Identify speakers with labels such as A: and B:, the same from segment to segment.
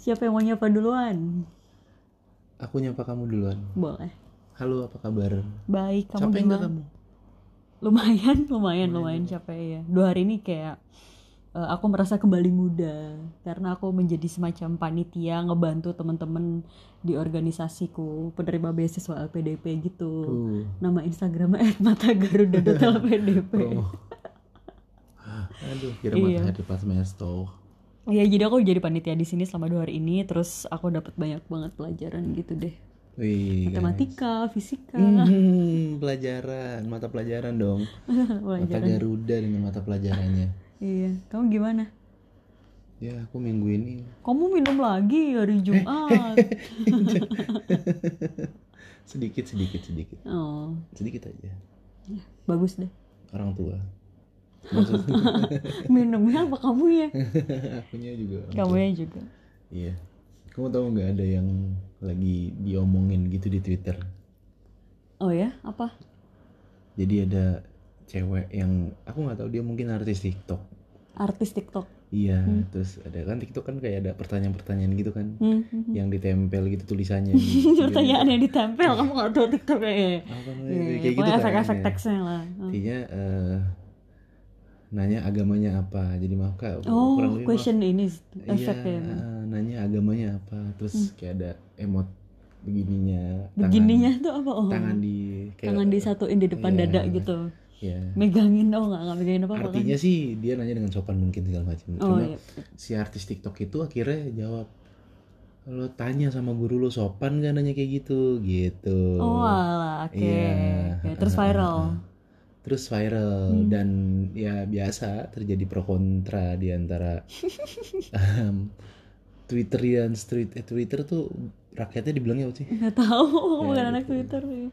A: Siapa yang mau nyapa duluan?
B: Aku nyapa kamu duluan.
A: Boleh.
B: Halo, apa kabar?
A: Baik, kamu
B: Capek nggak
A: gimana?
B: kamu?
A: Lumayan, lumayan, lumayan capek ya. Dua hari ini kayak eh, aku merasa kembali muda karena aku menjadi semacam panitia ngebantu temen-temen di organisasiku penerima beasiswa LPDP gitu.
B: Tuh,
A: Nama Instagramnya @matagaruda.lpdp.
B: promo. Aduh, kira
A: Iya.
B: matahari pas mesto.
A: Iya, jadi aku jadi panitia di sini selama dua hari ini. Terus aku dapat banyak banget pelajaran gitu deh.
B: Wih, Iya, guys.
A: Matematika, fisika,
B: Hmm, pelajaran, mata pelajaran dong. Mata
A: pelajaran.
B: Garuda dengan mata pelajarannya.
A: Iya, kamu gimana?
B: Ya, aku minggu ini.
A: Kamu minum lagi hari Jumat.
B: Sedikit, sedikit, sedikit.
A: oh,
B: Sedikit aja.
A: bagus deh.
B: Orang tua. Maksudnya,
A: Minumnya apa kamu ya?
B: akunya juga orang
A: Kamu
B: tua.
A: ya juga.
B: Iya. Kamu tahu nggak ada yang lagi diomongin gitu di Twitter?
A: Oh ya, apa?
B: Jadi ada cewek yang aku nggak tahu dia mungkin artis TikTok.
A: Artis TikTok.
B: Iya,
A: Hmm.
B: terus ada kan TikTok kan kayak ada pertanyaan-pertanyaan gitu kan
A: Hmm, hmm, hmm.
B: yang ditempel gitu tulisannya. gitu.
A: Pertanyaan yang ditempel, kamu nggak tahu TikTok ya?
B: Apa namanya?
A: Iya,
B: kayak gitu
A: pokoknya
B: kan.
A: efek-efek
B: ya.
A: teksnya lah. Oh,
B: Intinya eh, nanya agamanya apa. Jadi maaf Kak,
A: Oh,
B: kurang lebih maaf.
A: question ini
B: Iya,
A: efek ya. Hmm.
B: eh, nanya agamanya apa. Terus kayak ada emot begininya tangan-
A: Begininya tuh apa? Oh,
B: tangan di kayak
A: tangan disatuin di depan
B: Iya.
A: dada gitu.
B: ya
A: Megangin oh nggak nggak megangin apa apa kan?
B: artinya sih dia nanya dengan sopan mungkin segala macam
A: Oh iya.
B: cuma si artis TikTok itu akhirnya jawab lo tanya sama guru lo sopan gak nanya kayak gitu gitu
A: Oh alah, oke.
B: Iya.
A: Oke, Terus viral.
B: terus viral
A: Hmm.
B: dan ya biasa terjadi pro kontra di antara em, Twitter dan street eh, Twitter tuh rakyatnya dibilangnya apa sih
A: Nggak tahu, aku
B: Ya,
A: bukan
B: gitu.
A: anak Twitter ya.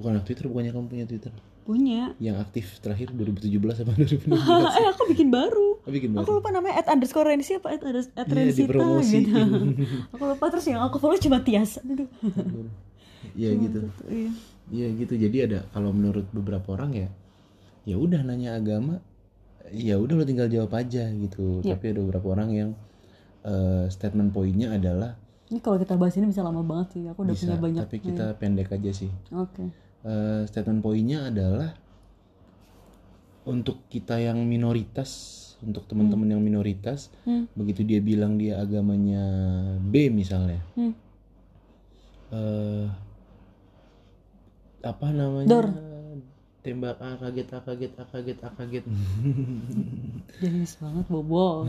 B: bukan anak Twitter bukannya kamu punya Twitter
A: Punya.
B: yang aktif terakhir 2017 apa 2016
A: eh aku bikin baru.
B: Apa bikin
A: Aku
B: baru
A: lupa namanya at underscore Rensi apa at, unders- at
B: Iya,
A: Rensita
B: dipromosiin.
A: gitu. aku lupa terus yang aku follow cuma Tias. Aduh.
B: Iya
A: Cuma
B: gitu.
A: itu, Iya.
B: Iya gitu. Jadi ada kalau menurut beberapa orang ya ya udah nanya agama ya udah lo tinggal jawab aja gitu.
A: Iya.
B: Tapi ada beberapa orang yang eh, statement poinnya adalah
A: Ini kalau kita bahas ini bisa lama banget sih. Aku Oh, udah punya
B: bisa
A: banyak.
B: tapi kita pendek aja sih.
A: Iya. Oke.
B: Eh, statement poinnya adalah untuk kita yang minoritas untuk teman-teman yang minoritas
A: Hmm.
B: begitu dia bilang dia agamanya B misalnya
A: Hmm.
B: eh apa namanya
A: Dor.
B: tembak ah kaget ah kaget ah kaget ah kaget
A: Jenis banget bobo.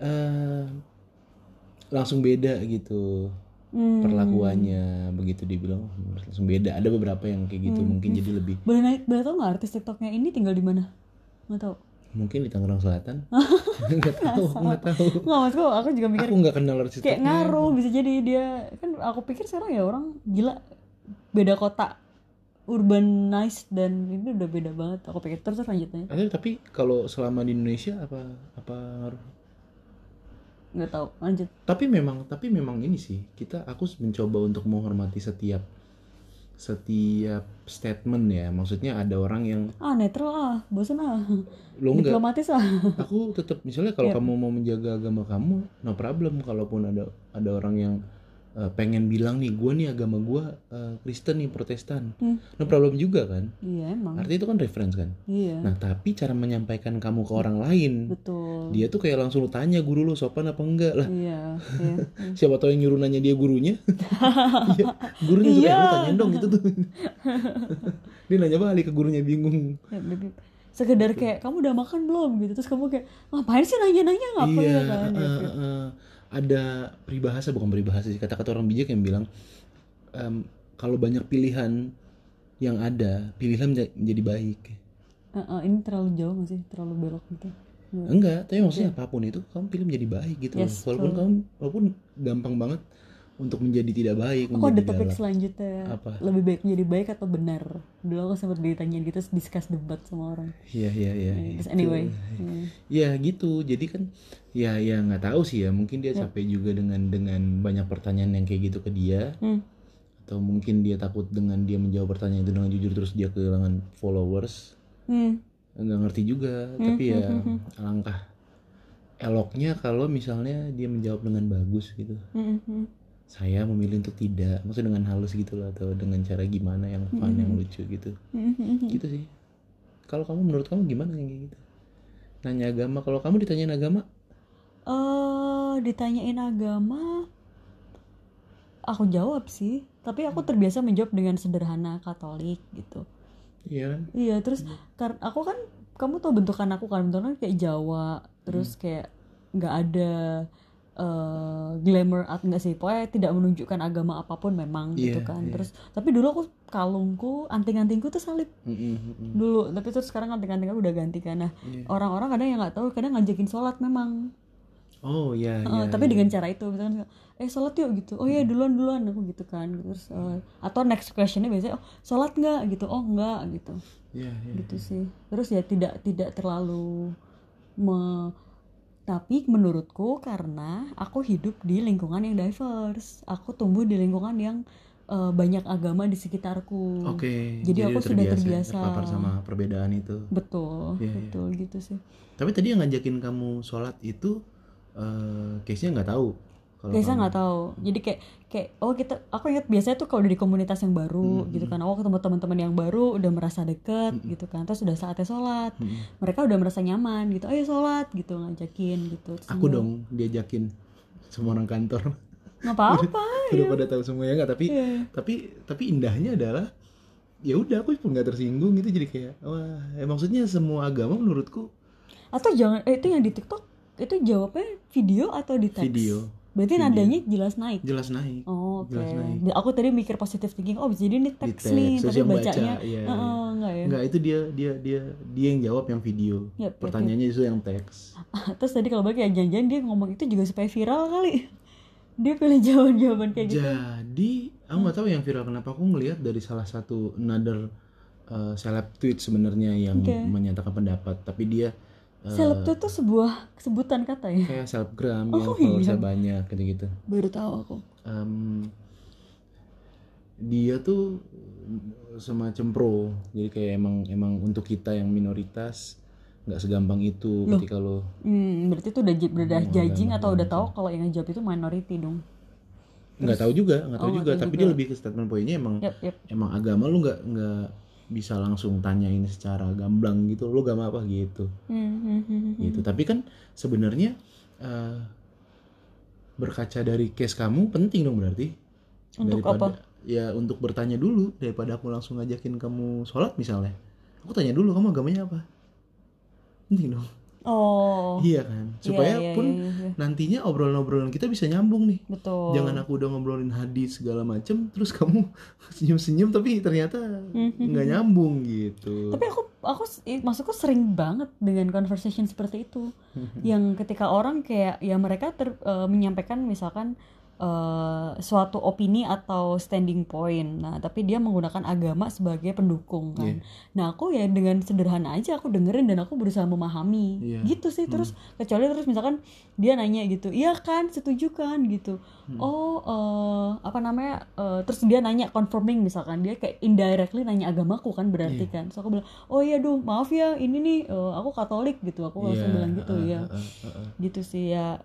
B: Eh, langsung beda gitu
A: Hmm.
B: perlakuannya begitu dibilang "Oh, langsung beda ada beberapa yang kayak gitu
A: Hmm.
B: mungkin jadi lebih
A: Boleh naik, boleh tau nggak artis TikToknya ini tinggal di mana? Nggak tahu.
B: mungkin di Tangerang Selatan nggak tahu nggak tahu
A: Nggak maksudku, aku juga mikir
B: aku nggak kenal artis
A: kayak ngaruh bisa jadi dia kan aku pikir sekarang ya orang gila beda kota urbanized dan ini udah beda banget aku pikir terus terus lanjutnya
B: Eh, tapi kalau selama di Indonesia apa apa ngaruh
A: nggak tahu lanjut
B: tapi memang tapi memang ini sih kita aku mencoba untuk menghormati setiap setiap statement ya maksudnya ada orang yang
A: ah netral ah bosan ah
B: lo enggak
A: diplomatis ah
B: aku tetap misalnya kalau
A: Iya.
B: kamu mau menjaga agama kamu no problem kalaupun ada ada orang yang eh, pengen bilang nih gua nih agama gua eh, Kristen nih Protestan
A: Hmm.
B: no problem juga kan
A: iya emang
B: artinya itu kan reference kan
A: iya
B: nah tapi cara menyampaikan kamu ke orang lain
A: betul
B: dia tuh kayak langsung lu tanya guru lu sopan apa enggak lah
A: iya iya
B: siapa tahu yang nyuruh nanya dia gurunya Iya, gurunya suka
A: Iya.
B: "Eh, lu tanyain dong itu tuh dia nanya balik ke gurunya bingung
A: Ya, baby. sekedar kayak kamu udah makan belum gitu terus kamu kayak ngapain sih nanya-nanya ngapain
B: iya
A: ya kan
B: eh, eh, eh. ada peribahasa bukan peribahasa sih kata-kata orang bijak yang bilang em, kalau banyak pilihan yang ada pilihlah menja- menjadi baik
A: Eh, eh, ini terlalu jauh gak sih terlalu belok gitu Iya.
B: enggak tapi maksudnya apapun itu kamu pilih menjadi baik gitu loh.
A: Yes,
B: walaupun
A: betul.
B: kamu walaupun gampang banget untuk menjadi tidak baik
A: Aku ada
B: menjadi
A: topik
B: galak.
A: selanjutnya.
B: Apa?
A: Lebih baik menjadi baik atau benar? Dulu aku sempat ditanyain gitu, terus discuss debat sama orang.
B: iya iya iya
A: Terus
B: itu.
A: anyway, iya.
B: ya gitu jadi kan ya ya nggak tahu sih ya mungkin dia capek juga dengan dengan banyak pertanyaan yang kayak gitu ke dia
A: Hmm.
B: atau mungkin dia takut dengan dia menjawab pertanyaan itu dengan jujur terus dia kehilangan followers
A: Hmm.
B: nggak ngerti juga tapi ya alangkah eloknya kalau misalnya dia menjawab dengan bagus gitu
A: Mm-mm.
B: saya memilih untuk tidak maksud dengan halus gitu loh atau dengan cara gimana yang fun yang lucu gitu
A: Hmm. Mm-mm.
B: gitu sih kalau kamu menurut kamu gimana yang kayak gitu nanya agama kalau kamu ditanyain agama
A: eh ditanyain agama, aku jawab sih. Tapi
B: Hmm.
A: aku terbiasa menjawab dengan sederhana Katolik gitu.
B: iya kan
A: Iya, terus karena aku kan kamu tau bentukan aku kan bentukan kayak Jawa,
B: Hmm.
A: terus kayak nggak ada eh, glamour art nggak sih, pokoknya tidak menunjukkan agama apapun memang gitu
B: Iya,
A: kan.
B: iya.
A: Terus tapi dulu aku kalungku, anting-antingku tuh salib
B: Mm-mm, mm-mm.
A: dulu, tapi terus sekarang anting-anting aku udah ganti kan. Nah,
B: Iya.
A: orang-orang kadang yang nggak tahu kadang ngajakin sholat memang.
B: oh iya
A: Heeh,
B: iya
A: Eh, tapi
B: iya.
A: dengan cara itu misalkan eh sholat yuk gitu oh ya duluan duluan aku gitu kan terus eh, atau next questionnya biasanya oh sholat nggak gitu oh nggak gitu
B: Iya, iya.
A: gitu sih terus ya tidak tidak terlalu me- tapi menurutku karena aku hidup di lingkungan yang diverse aku tumbuh di lingkungan yang eh, banyak agama di sekitarku
B: oke
A: Jadi aku
B: dia
A: sudah terbiasa.
B: terpapar sama perbedaan itu
A: betul
B: Iya, iya.
A: betul gitu sih
B: tapi tadi yang ngajakin kamu sholat itu eh case nya nggak tahu kalau
A: biasa
B: kamu-
A: nggak tahu jadi kayak kayak oh kita aku ingat biasanya tuh kalau udah di komunitas yang baru
B: Hmm,
A: gitu kan aku ketemu teman-teman yang baru udah merasa deket gitu kan terus udah saatnya sholat
B: Mm-mm.
A: mereka udah merasa nyaman gitu ayo sholat gitu ngajakin gitu Terus
B: aku
A: gua,
B: dong diajakin semua orang kantor
A: nggak apa-apa
B: udah pada tahu semua ya nggak tapi
A: Ah, Iya.
B: tapi tapi indahnya adalah ya udah aku pun nggak tersinggung gitu jadi kayak wah ya maksudnya semua agama menurutku
A: atau jangan eh, itu yang di TikTok itu jawabnya video atau di teks
B: video
A: berarti
B: Video.
A: nadanya jelas naik
B: jelas naik
A: oh oke
B: Jelas naik.
A: Dan aku tadi mikir positive thinking oh jadi ini
B: di
A: teks nih
B: terus
A: tapi
B: yang baca
A: bacanya
B: iya,
A: eh, eh, enggak ya
B: Enggak, itu dia dia dia dia yang jawab yang video.
A: Yap, yap,
B: Pertanyaannya itu yang teks.
A: terus tadi kalau balik ya jangan-jangan dia ngomong itu juga supaya viral kali dia pilih jawaban-jawaban kayak gitu
B: Jadi, aku nggak tahu yang viral kenapa aku ngelihat dari salah satu another uh, seleb tweet sebenarnya yang
A: Oke.
B: menyatakan pendapat, tapi dia uh,
A: seleb itu tuh sebuah sebutan kata ya
B: kayak selebgram yang
A: Oh, iya.
B: followersnya banyak gitu-gitu.
A: baru tahu aku
B: Em, dia tuh semacam pro, jadi kayak emang emang untuk kita yang minoritas nggak segampang itu
A: Loh.
B: ketika lo
A: hmm, berarti itu udah j- udah
B: Hmm,
A: judging
B: udah-
A: atau
B: udah-
A: udah tahu kalau yang ngejawab itu minority dong
B: nggak tahu juga nggak tahu
A: Oh, nggak
B: juga
A: tahu
B: tapi
A: juga.
B: dia lebih ke statement poinnya emang
A: yap yap
B: emang agama lu nggak nggak bisa langsung tanyain secara gamblang gitu lu agama apa gitu
A: Hmm, hmm, hmm, hmm,
B: gitu tapi kan sebenarnya eh, berkaca dari case kamu penting dong berarti
A: Untuk
B: ya untuk bertanya dulu daripada aku langsung ngajakin kamu sholat misalnya aku tanya dulu kamu agamanya apa penting dong
A: oh
B: iya kan supaya
A: Iya, iya,
B: pun
A: iya, iya.
B: nantinya obrolan-obrolan kita bisa nyambung nih
A: betul
B: jangan aku udah ngobrolin hadis segala macem terus kamu senyum-senyum tapi ternyata
A: Mhm.
B: nggak nyambung gitu
A: tapi aku aku s- i- maksudku sering banget dengan conversation seperti itu yang ketika orang kayak ya mereka ter- eh, menyampaikan misalkan eh, suatu opini atau standing point nah tapi dia menggunakan agama sebagai pendukung kan
B: Iya.
A: nah aku ya dengan sederhana aja aku dengerin dan aku berusaha memahami
B: Iya.
A: gitu sih terus kecuali terus misalkan dia nanya gitu iya kan setuju kan gitu
B: Hmm.
A: oh eh, apa namanya eh, terus dia nanya confirming misalkan dia kayak indirectly nanya agamaku kan berarti kan so aku bilang oh iya dong maaf ya ini nih eh, aku Katolik gitu aku langsung bilang gitu
B: eh,
A: ya
B: eh, eh, eh.
A: gitu sih ya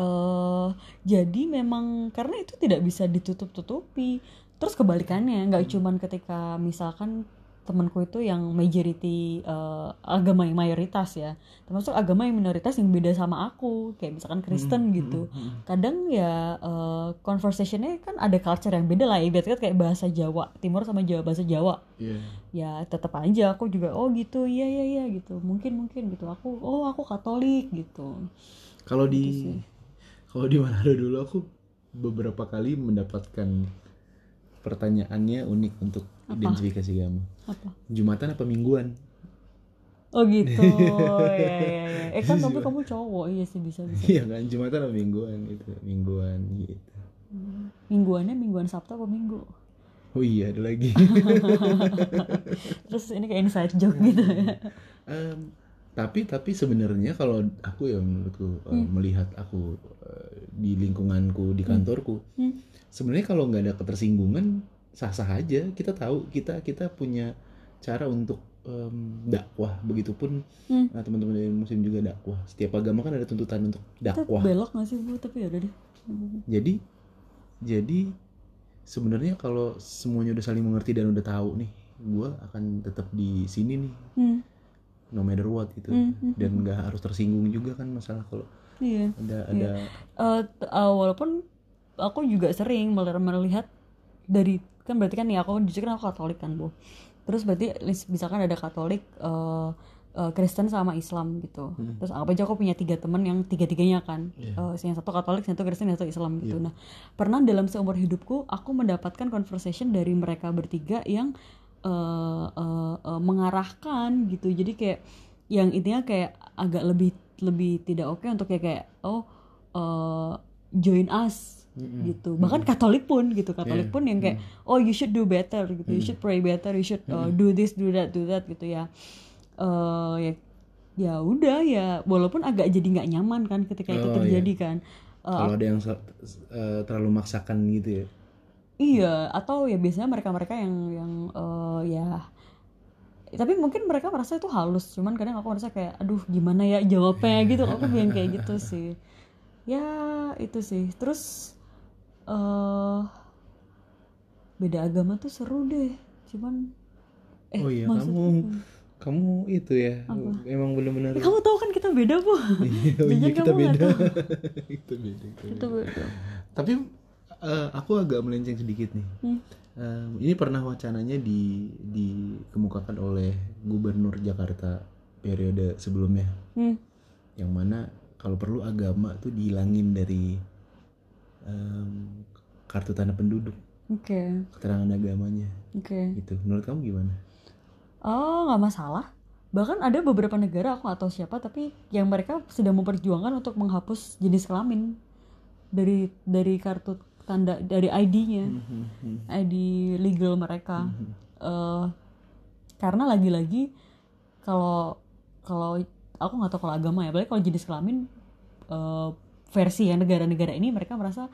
A: eh jadi memang karena itu tidak bisa ditutup-tutupi terus kebalikannya nggak cuman ketika misalkan temanku itu yang majority eh, agama yang mayoritas ya termasuk agama yang minoritas yang beda sama aku kayak misalkan
B: Hmm,
A: Kristen gitu kadang ya eh, conversationnya kan ada culture yang beda lah ibaratnya kayak bahasa Jawa Timur sama Jawa bahasa Jawa
B: Iya.
A: ya tetap aja aku juga oh gitu iya iya iya gitu mungkin mungkin gitu aku oh aku Katolik gitu
B: kalau di
A: Gitu sih.
B: kalau di Manado dulu aku beberapa kali mendapatkan pertanyaannya unik untuk
A: Apa?
B: identifikasi kamu
A: apa
B: jumatan apa mingguan
A: oh gitu ya ya ya eh kan tapi kamu cowok iya sih bisa bisa
B: iya kan jumatan apa mingguan gitu mingguan gitu
A: mingguannya mingguan Sabtu apa Minggu
B: oh iya ada lagi
A: terus ini kayak inside joke
B: Iya.
A: gitu ya
B: Em, tapi tapi sebenarnya kalau aku ya menurutku eh, melihat aku eh, di lingkunganku di kantorku
A: Hmm. Hmm.
B: sebenarnya kalau nggak ada ketersinggungan sah sah aja kita tahu kita kita punya cara untuk em, dakwah begitupun
A: Hmm.
B: eh, teman-teman dari muslim juga dakwah setiap agama kan ada tuntutan untuk
A: Kita
B: dakwah
A: belok gak sih bu tapi ya udah deh
B: jadi jadi sebenarnya kalau semuanya udah saling mengerti dan udah tahu nih gua akan tetap di sini nih
A: hmm.
B: no matter what gitu
A: Hmm, hmm,
B: dan nggak harus tersinggung juga kan masalah kalau
A: iya
B: ada
A: Iya.
B: ada
A: Eh, t- eh, walaupun aku juga sering mel- melihat dari kan berarti kan nih aku jujur kan aku Katolik kan bu terus berarti lis- misalkan ada Katolik eh, eh, Kristen sama Islam gitu
B: Hmm.
A: terus anggap aja aku punya tiga temen yang tiga tiganya kan
B: Iya.
A: Eh, yang satu Katolik yang satu Kristen yang satu Islam gitu nah pernah dalam seumur hidupku aku mendapatkan conversation dari mereka bertiga yang eh, eh, eh, mengarahkan gitu jadi kayak yang intinya kayak agak lebih lebih tidak oke untuk kayak kayak oh eh, join us
B: Mm-mm.
A: gitu bahkan Katolik pun gitu Katolik
B: Iya.
A: pun yang kayak oh you should do better gitu you should pray better you should uh, do this do that do that gitu ya Eh, ya ya udah ya walaupun agak jadi nggak nyaman kan ketika itu
B: Oh, iya.
A: terjadi kan Eh,
B: kalau ada yang sel- eh, terlalu maksakan gitu ya
A: Iya, atau ya biasanya mereka-mereka yang yang eh, ya tapi mungkin mereka merasa itu halus, cuman kadang aku merasa kayak aduh gimana ya jawabnya gitu. Aku bilang kayak gitu sih. Ya, itu sih. Terus eh beda agama tuh seru deh. Cuman eh
B: oh iya
A: maksud-
B: kamu kamu itu ya emang benar-benar
A: Eh, kamu tahu kan kita beda, Bu.
B: Iya, oh iya,
A: Jangan
B: kita
A: kamu nggak
B: beda.
A: tahu.
B: kita beda kita
A: Kita
B: beda.
A: beda.
B: tapi eh, aku agak melenceng sedikit nih
A: Hmm.
B: Em, ini pernah wacananya di dikemukakan oleh Gubernur Jakarta periode sebelumnya,
A: Hmm.
B: yang mana kalau perlu agama tuh dihilangin dari em, kartu tanda penduduk
A: Oke,
B: keterangan agamanya
A: oke.
B: gitu. Menurut kamu gimana?
A: Oh, nggak masalah. Bahkan ada beberapa negara aku atau siapa tapi yang mereka sedang memperjuangkan untuk menghapus jenis kelamin dari dari kartu tanda dari ID-nya,
B: Hmm,
A: ID legal mereka. Eh, karena lagi-lagi kalau kalau aku nggak tahu kalau agama ya, apalagi kalau jenis kelamin eh, versi yang negara-negara ini mereka merasa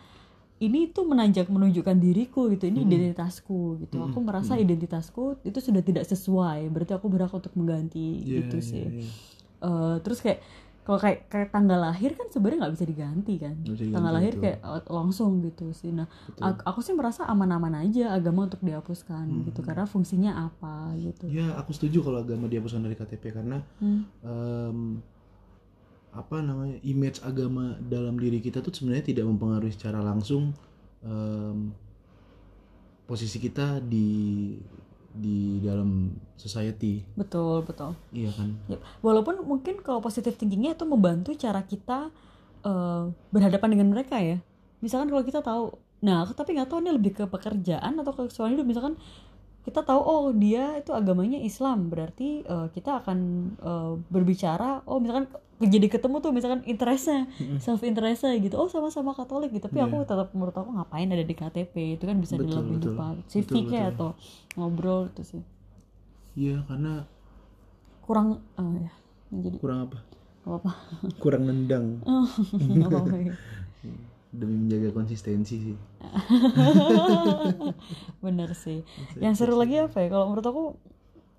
A: ini tuh menanjak menunjukkan diriku gitu, ini identitasku gitu. Aku merasa identitasku itu sudah tidak sesuai, berarti aku berhak untuk mengganti
B: Iya,
A: gitu sih. Eh, terus kayak kalau kayak, kayak tanggal lahir kan sebenarnya nggak bisa diganti kan
B: Nggak bisa
A: tanggal
B: diganti,
A: lahir
B: Iya, betul.
A: kayak eh, langsung gitu sih nah ak- aku sih merasa aman-aman aja agama untuk dihapuskan gitu karena fungsinya apa gitu
B: Ya, aku setuju kalau agama dihapuskan dari KTP karena
A: Hmm.
B: em, apa namanya image agama dalam diri kita tuh sebenarnya tidak mempengaruhi secara langsung em, posisi kita di di dalam society
A: betul betul
B: iya kan
A: Yep. walaupun mungkin kalau positive thinkingnya itu membantu cara kita eh, berhadapan dengan mereka ya misalkan kalau kita tahu nah aku tapi nggak tahu ini lebih ke pekerjaan atau ke soal hidup misalkan kita tahu oh dia itu agamanya Islam berarti eh, kita akan eh, berbicara oh misalkan ke- jadi ketemu tuh misalkan interestnya self interestnya gitu oh sama-sama Katolik gitu tapi aku tetap menurut aku ngapain ada di KTP itu kan bisa
B: Iya. Betul,
A: dalam
B: betul.
A: hidup
B: Betul,
A: civic ya
B: betul.
A: atau ngobrol gitu sih
B: iya karena
A: kurang eh, ya jadi
B: kurang apa
A: apa
B: kurang nendang
A: apa
B: demi menjaga konsistensi sih
A: bener sih
B: Iya,
A: yang seru lagi apa ya kalau menurut aku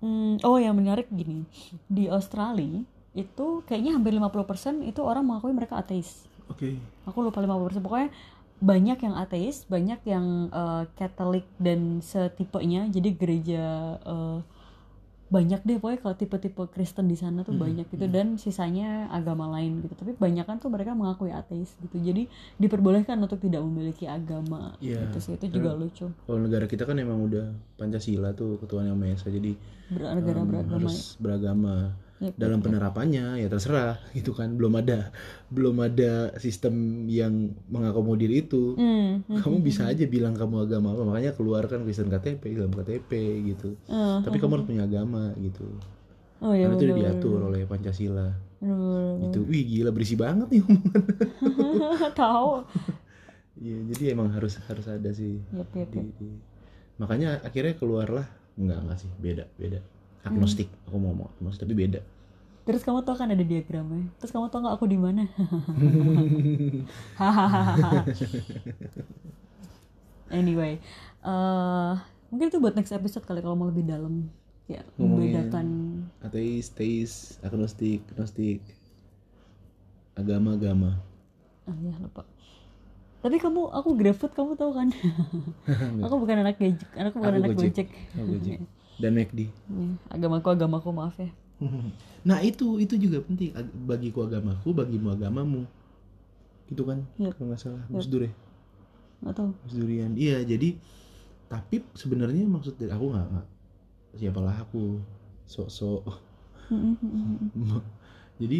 A: hmm, oh yang menarik gini di Australia itu kayaknya hampir 50% itu orang mengakui mereka ateis
B: oke
A: aku lupa 50% pokoknya banyak yang ateis banyak yang eh, Katolik dan setipenya jadi gereja eh, banyak deh pokoknya kalau tipe-tipe Kristen di sana
B: Hmm,
A: tuh banyak gitu dan sisanya agama lain gitu tapi kebanyakan tuh mereka mengakui ateis gitu jadi diperbolehkan untuk tidak memiliki agama
B: Iya.
A: gitu sih itu juga lucu
B: kalau negara kita kan emang udah pancasila tuh E ketuaan yang maha esa jadi
A: Ber- negara
B: em,
A: beragama ya? gitu.
B: harus beragama
A: Yep,
B: dalam penerapannya ya terserah gitu kan belum ada belum ada sistem yang mengakomodir itu
A: hmm.
B: kamu bisa aja bilang kamu agama apa makanya keluarkan Kristen KTP dalam KTP gitu
A: Eh,
B: tapi kamu harus punya agama gitu
A: oh iya
B: karena itu
A: bener,
B: udah diatur oleh Pancasila
A: bener, bener,
B: gitu wih gila berisi banget nih omongan
A: bener. tahu
B: Iya, jadi emang harus harus ada sih
A: Yep, yep,
B: di, di- makanya akhirnya keluarlah nggak nggak sih beda beda agnostik
A: Hmm.
B: aku mau ngomong agnostik tapi beda
A: terus kamu tau kan ada diagramnya terus kamu tau nggak aku di mana anyway eh mungkin itu buat next episode kali kalau mau lebih dalam ya
B: Ngomongin-
A: membedakan
B: ateis teis agnostik gnostik agama agama
A: ah ya lupa tapi kamu aku GrabFood kamu tahu kan aku bukan anak gojek aku bukan
B: Iya. Aku
A: anak
B: Gojek.
A: gojek,
B: Aku Gojek. dan McD
A: Ya, agamaku agamaku maaf ya
B: nah itu itu juga penting Ag- bagiku agamaku bagimu agamamu gitu kan
A: Yap.
B: kalau nggak salah Gus Dur ya
A: nggak tahu
B: Gus Durian iya jadi tapi sebenarnya maksud dari aku nggak nggak- siapalah aku sok-sok
A: Mm, mm, mm, mm.
B: jadi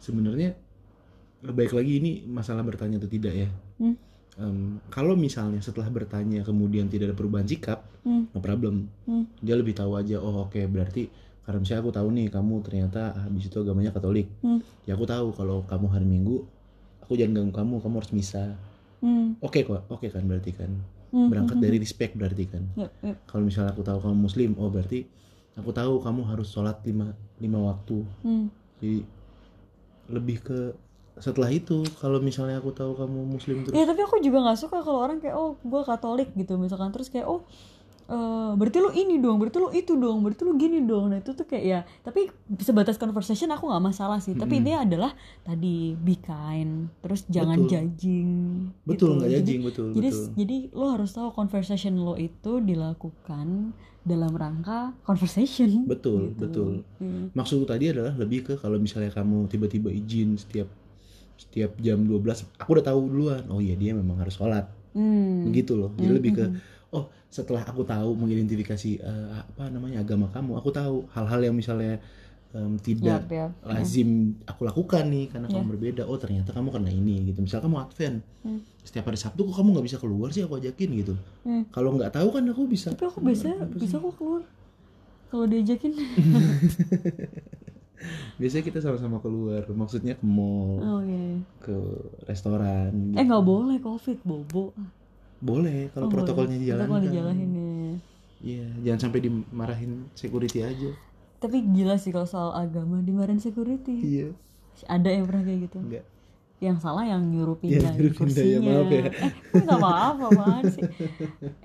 B: sebenarnya baik lagi ini masalah bertanya atau tidak ya
A: Hmm.
B: Em, kalau misalnya setelah bertanya kemudian tidak ada perubahan sikap
A: Hmm.
B: no problem
A: Hmm.
B: dia lebih tahu aja oh oke berarti karena misalnya aku tahu nih kamu ternyata habis itu agamanya katolik
A: Hmm.
B: ya aku tahu kalau kamu hari minggu aku jangan ganggu kamu kamu harus misa
A: Mm,
B: oke kok oke kan berarti kan
A: mm,
B: berangkat
A: mm,
B: dari
A: mm.
B: respect berarti kan
A: Yap, yap.
B: kalau misalnya aku tahu kamu muslim oh berarti aku tahu kamu harus sholat lima lima waktu
A: Mm.
B: jadi lebih ke setelah itu kalau misalnya aku tahu kamu muslim terus
A: Ya tapi aku juga nggak suka kalau orang kayak oh gue Katolik gitu misalkan terus kayak oh eh, berarti lu ini dong, berarti lu itu dong, berarti lu gini dong. Nah itu tuh kayak ya tapi sebatas conversation aku nggak masalah sih. Tapi
B: Mm-mm.
A: intinya adalah tadi be kind, terus jangan
B: Betul.
A: judging.
B: betul
A: gitu.
B: nggak
A: Jadi-
B: judging betul
A: Jadi
B: betul
A: jadi lo harus tahu conversation lo itu dilakukan dalam rangka conversation.
B: betul betul
A: Iya.
B: maksud tadi adalah lebih ke kalau misalnya kamu tiba-tiba izin setiap setiap jam 12 aku udah tahu duluan oh iya dia memang harus sholat
A: Hmm.
B: begitu loh Gitu. jadi lebih ke
A: Mm-mm.
B: oh setelah aku tahu mengidentifikasi eh, apa namanya agama kamu aku tahu hal-hal yang misalnya em, tidak
A: Yap, yap.
B: Hmm. lazim aku lakukan nih karena kamu
A: Iya.
B: berbeda oh ternyata kamu karena ini gitu misalnya kamu advent
A: Hmm.
B: setiap hari sabtu kok kamu nggak bisa keluar sih aku ajakin gitu
A: Hmm.
B: kalau nggak tahu kan aku bisa
A: tapi aku biasanya
B: Apa sih?
A: bisa kok keluar kalau diajakin
B: biasanya kita sama-sama keluar maksudnya ke mall
A: oh iya iya.
B: ke restoran
A: eh
B: gitu.
A: nggak boleh covid bobo
B: boleh kalau
A: Oh,
B: protokolnya kan.
A: boleh.
B: dijalankan
A: protokol dijalanin ya, ya.
B: Iya, jangan sampai dimarahin security aja
A: tapi gila sih kalau soal agama dimarahin security
B: iya
A: ada yang pernah kayak gitu
B: enggak
A: yang salah yang nyuruh
B: Yang
A: pindah
B: nyuruh pindah,
A: kursinya
B: ya, maaf ya.
A: eh gue nggak maaf apaan sih eh,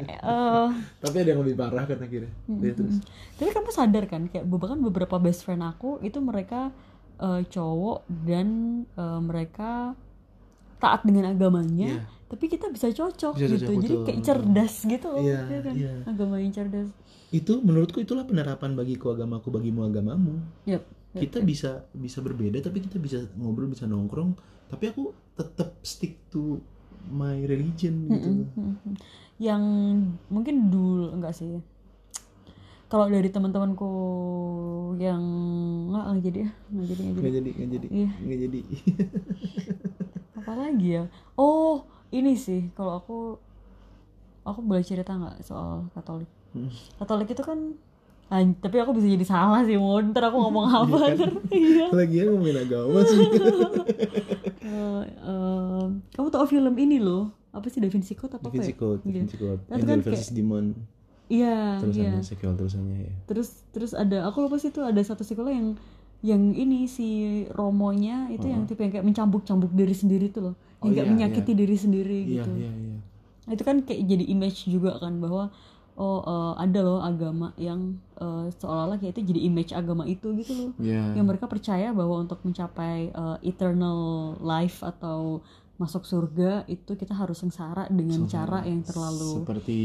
A: eh,
B: tapi ada yang lebih parah kan akhirnya
A: Hmm.
B: Iya, terus
A: Mm-mm. Tapi kamu sadar kan kayak be- bahkan beberapa best friend aku itu mereka eh, cowok dan eh, mereka taat dengan agamanya,
B: Iya.
A: tapi kita bisa cocok
B: Bisa
A: gitu.
B: cocok,
A: Jadi
B: betul.
A: kayak cerdas gitu loh,
B: Iya,
A: ya kan?
B: iya.
A: Agama yang cerdas.
B: itu menurutku itulah penerapan bagiku agamaku bagimu agamamu
A: Yap. yap,
B: kita
A: yap.
B: bisa bisa berbeda tapi kita bisa ngobrol bisa nongkrong tapi aku tetap stick to my religion gitu
A: Mm-mm, mm-mm. Yang mungkin dulu enggak sih. Kalau dari teman-temanku yang enggak enggak jadi ya, enggak jadi enggak jadi.
B: nggak jadi nggak jadi
A: Iya.
B: nggak jadi
A: apalagi ya oh ini sih kalau aku aku boleh cerita nggak soal Katolik
B: Hmm.
A: Katolik itu kan an- tapi aku bisa jadi salah sih mau ntar aku ngomong apa
B: Iya kan?
A: ntar iya
B: lagian ngomongin agama sih
A: Eh, eh, kamu tau film ini loh apa sih Da Vinci Code apa apa
B: Da Vinci
A: ya
B: Code Da
A: Iya.
B: Vinci Code
A: Nah, itu
B: Angel
A: kan
B: versus Demon
A: iya iya
B: terusannya sequel terusannya ya
A: terus terus ada aku lupa sih itu ada satu sekolah yang yang ini si Romonya itu yang tipe yang kayak mencambuk-cambuk diri sendiri tuh loh
B: Uh-huh. Oh,
A: yang kayak
B: iya,
A: menyakiti diri sendiri
B: iya
A: gitu
B: iya iya
A: Nah, itu kan kayak jadi image juga kan bahwa oh eh, ada loh agama yang eh, seolah-olah kayak itu jadi image agama itu gitu loh
B: Iya.
A: yang mereka percaya bahwa untuk mencapai eh, eternal life atau masuk surga itu kita harus sengsara dengan
B: Sengsara.
A: cara yang terlalu
B: seperti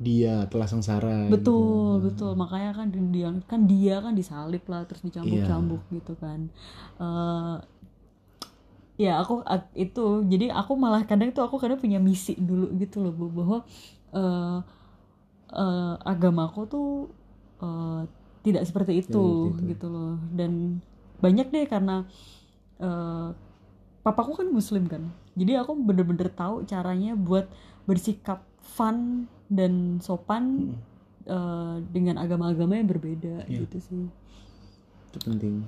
B: dia telah sengsara
A: betul
B: gitu.
A: betul makanya kan di- dia kan dia kan disalib lah terus dicambuk-cambuk
B: Iya.
A: gitu kan Eh, ya aku ak- itu jadi aku malah kadang tuh aku kadang punya misi dulu gitu loh Bu, bahwa eh eh, agamaku tuh eh, tidak seperti itu
B: Iya, Tidak seperti itu.
A: gitu loh dan banyak deh karena eh, papaku kan muslim kan jadi aku bener-bener tahu caranya buat bersikap fun dan sopan
B: Mm,
A: eh, dengan agama-agama yang berbeda
B: Iya.
A: gitu sih
B: itu penting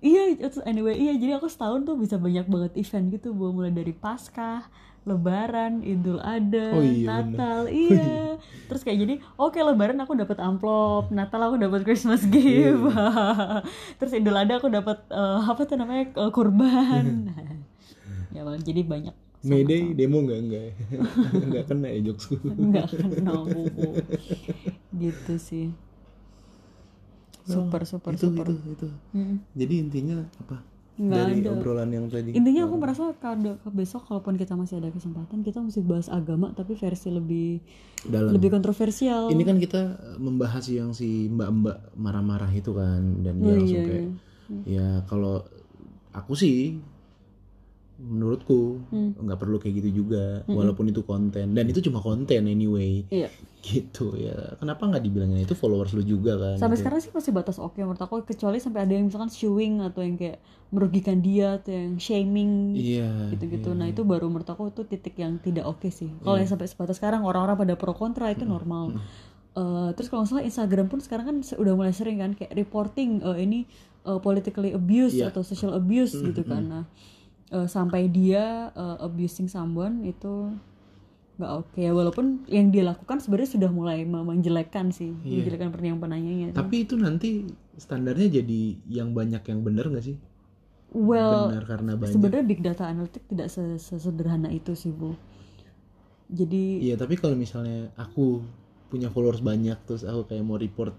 A: Iya, it's- anyway, iya jadi aku setahun tuh bisa banyak banget event gitu, Bu. mulai dari Paskah, Lebaran, Idul Adha,
B: Oh iya,
A: Natal, iya. Terus kayak jadi, oke Lebaran aku dapat amplop, Natal aku dapat Christmas
B: Iya.
A: gift, terus Idul Adha aku dapat eh, apa tuh namanya eh, kurban. ya malah jadi banyak.
B: Iya. Mayday demo nggak nggak ya? nggak kena ya jokesku
A: Enggak kenal, Bu. Gitu sih.
B: Memang,
A: Super, super,
B: Iya. itu,
A: super.
B: itu itu
A: Mm.
B: jadi intinya apa
A: Nggak
B: dari
A: ada.
B: obrolan yang tadi
A: Intinya aku merasa kalau besok kalaupun kita masih ada kesempatan kita mesti bahas agama tapi versi lebih
B: dalam
A: lebih kontroversial.
B: Hmm.
A: Iya,
B: ini kan kita eh, membahas yang si mbak-mbak marah-marah itu kan dan dia
A: Oh,
B: langsung
A: iya,
B: kayak
A: iya.
B: ya kalau aku sih menurutku
A: Hmm.
B: nggak perlu kayak gitu juga
A: Mm-mm.
B: walaupun itu konten dan itu cuma konten anyway
A: Iya.
B: gitu ya kenapa nggak dibilangnya itu followers lu juga kan
A: Sampai
B: gitu.
A: sekarang sih masih batas oke menurut aku kecuali sampai ada yang misalkan suing atau yang kayak merugikan dia atau yang shaming
B: iya
A: gitu-gitu.
B: iya,
A: Nah,
B: iya.
A: itu baru menurut aku itu titik yang tidak oke sih. Kalau
B: Iya. Hmm.
A: yang sampai sebatas sekarang orang-orang pada pro kontra itu normal.
B: Mm-mm.
A: Eh, terus kalau nggak salah Instagram pun sekarang kan se- udah mulai sering kan kayak reporting eh, ini eh, politically abuse
B: Iya.
A: atau social abuse
B: Mm,
A: gitu kan.
B: mm.
A: Nah, eh, sampai dia eh, abusing someone itu nggak oke ya walaupun yang dia lakukan sebenarnya sudah mulai me- menjelekkan sih,
B: Iya.
A: menjelekkan per- yang penanyanya. itu.
B: tapi itu nanti standarnya jadi yang banyak yang benar nggak sih
A: well,
B: benar karena banyak
A: sebenarnya big data analytic tidak se- sesederhana itu sih, Bu. Jadi
B: Iya tapi kalau misalnya aku punya followers banyak terus aku kayak mau report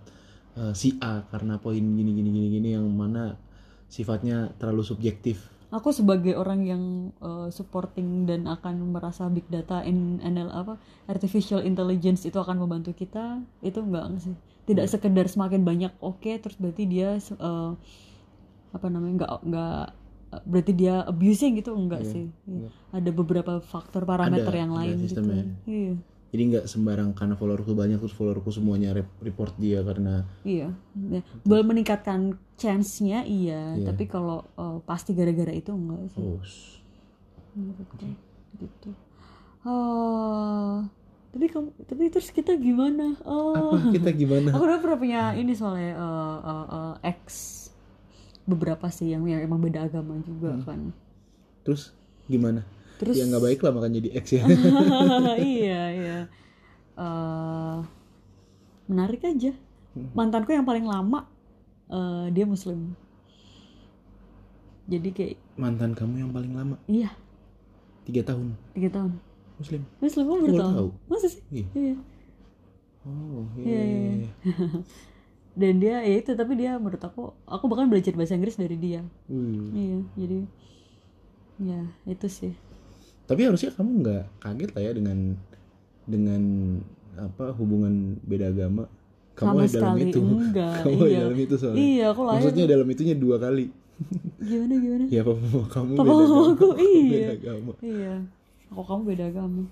B: eh, si A karena poin gini gini gini gini yang mana sifatnya terlalu subjektif.
A: aku sebagai orang yang uh, supporting dan akan merasa big data in NL apa artificial intelligence itu akan membantu kita itu enggak sih tidak
B: Iya.
A: sekedar semakin banyak oke terus berarti dia se- uh, apa namanya enggak enggak uh, berarti dia abusing gitu enggak
B: Iya,
A: sih Iya.
B: iya.
A: ada beberapa faktor parameter
B: Ada-
A: yang
B: ada
A: lain gitu
B: sistemnya.
A: iya
B: Jadi nggak sembarang karena followerku banyak terus followerku semuanya rep- report dia karena
A: iya Ya, boleh meningkatkan chance-nya iya
B: Iya.
A: tapi kalau uh, pasti gara-gara itu enggak sih
B: oh s-
A: menurutku gitu Ah, tapi kamu tapi terus kita gimana oh
B: apa kita
A: aku
B: gimana?
A: udah pernah punya ini soalnya eh, eh, eh, ex beberapa sih yang yang emang beda agama juga kan
B: Terus gimana?
A: terus
B: Ya Hmm. nggak baik lah makanya jadi X ya.
A: iya iya Eh, menarik aja mantanku yang paling lama eh, dia muslim jadi kayak
B: Mantan kamu yang paling lama
A: iya
B: tiga tahun
A: tiga tahun
B: Muslim.
A: muslim kamu
B: Aku
A: baru
B: baru
A: tahu
B: tahu.
A: masa sih
B: Iya.
A: iya
B: Oh iya.
A: Iya, iya,
B: iya,
A: iya. dan dia ya itu tapi dia menurut aku aku bahkan belajar bahasa Inggris dari dia
B: Wih.
A: iya jadi ya itu sih
B: tapi harusnya kamu nggak kaget lah ya dengan dengan apa hubungan beda agama
A: Sama
B: kamu di dalam
A: sekali
B: itu
A: enggak,
B: kamu di
A: iya.
B: dalam itu soalnya
A: iya aku lahir
B: maksudnya dalam itunya dua kali
A: gimana gimana
B: ya papa mama kamu
A: Papa
B: beda
A: mama
B: agama,
A: aku, iya.
B: beda agama
A: iya aku kamu beda agama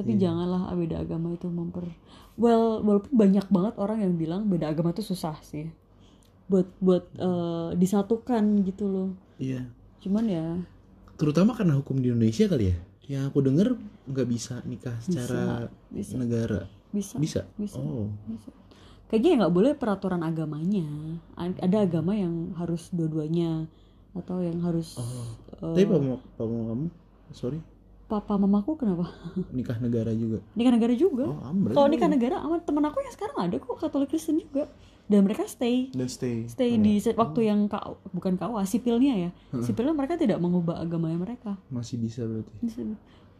B: Iya.
A: tapi janganlah ah, beda agama itu memper well walaupun banyak banget orang yang bilang beda agama itu susah sih buat buat eh, disatukan gitu loh
B: iya
A: cuman ya
B: terutama karena hukum di Indonesia kali ya yang aku dengar nggak bisa nikah secara
A: bisa
B: negara
A: bisa
B: bisa?
A: bisa
B: oh
A: Bisa. Kayaknya ya nggak boleh peraturan agamanya. A- Ada agama yang harus dua-duanya atau yang harus
B: Oh.
A: eh,
B: tapi papa mama- papa mama kamu sorry
A: papa mamaku kenapa?
B: nikah negara juga
A: Nikah negara juga.
B: oh ambil
A: Kalau nikah negara sama temen aku yang sekarang ada kok Katolik Kristen juga. Dan mereka stay
B: dan stay
A: stay
B: Oh,
A: di se- waktu yang KA bukan KUA sipilnya ya. Sipilnya mereka tidak mengubah agamanya mereka.
B: masih bisa berarti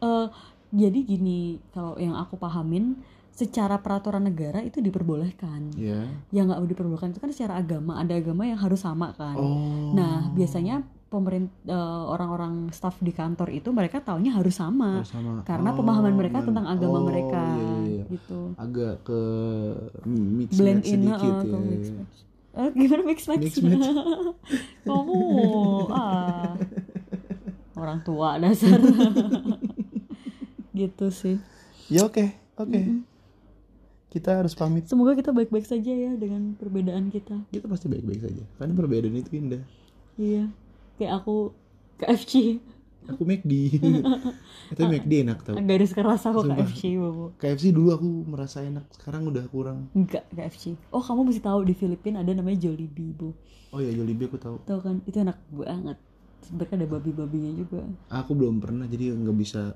A: Eh, jadi gini, kalau yang aku pahamin secara peraturan negara itu diperbolehkan.
B: ya
A: yang nggak diperbolehkan itu kan secara agama ada agama yang harus sama kan
B: oh
A: nah biasanya pemerintah orang-orang staff di kantor itu mereka taunya harus sama
B: Oh, sama.
A: karena
B: Oh,
A: pemahaman mereka
B: man-
A: tentang agama
B: oh,
A: mereka
B: iya, iya, iya.
A: gitu
B: agak ke mix
A: blend
B: match
A: in
B: sedikit
A: uh,
B: ya.
A: ke mix match Eh, gimana mix match,
B: Mix match.
A: kamu ah orang tua dasar gitu sih
B: Ya oke, oke. Kita harus pamit.
A: semoga kita baik-baik saja ya dengan perbedaan kita
B: Kita pasti baik-baik saja. Karena perbedaan itu indah.
A: iya kayak aku KFC
B: Aku McD. Itu McD enak tau.
A: garis keras aku
B: Sumpah.
A: KFC bobo
B: KFC dulu aku merasa enak, sekarang udah kurang.
A: enggak KFC oh kamu mesti tahu di Filipina ada namanya Jollibee bu
B: Oh ya Jollibee aku tahu.
A: tahu kan itu enak banget mereka ada babi-babinya juga
B: Aku belum pernah jadi nggak bisa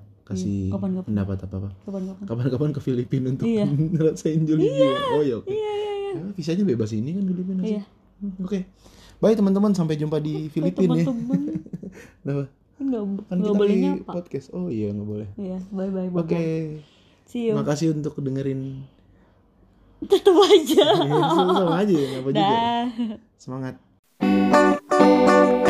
A: Iya,
B: kasih
A: kapan-kapan.
B: pendapat apa-apa.
A: kapan-kapan
B: Kapan-kapan ke Filipina untuk
A: Iya.
B: ngerasain Jollibee. Oh ya oke.
A: iya iya iya
B: Ya, Visanya bebas ini kan Filipina sih.
A: Iya.
B: Oke. Bye teman-teman, sampai jumpa di
A: Eh,
B: Filipina ya.
A: teman-teman
B: Kenapa?
A: nggak
B: Kan
A: nggak
B: kita
A: boleh
B: di
A: nyapa
B: podcast. Oh iya nggak boleh.
A: iya bye bye
B: Oke.
A: see you
B: Makasih untuk dengerin
A: tetap aja
B: Ya, sama aja ya, apa juga.
A: dah
B: Semangat.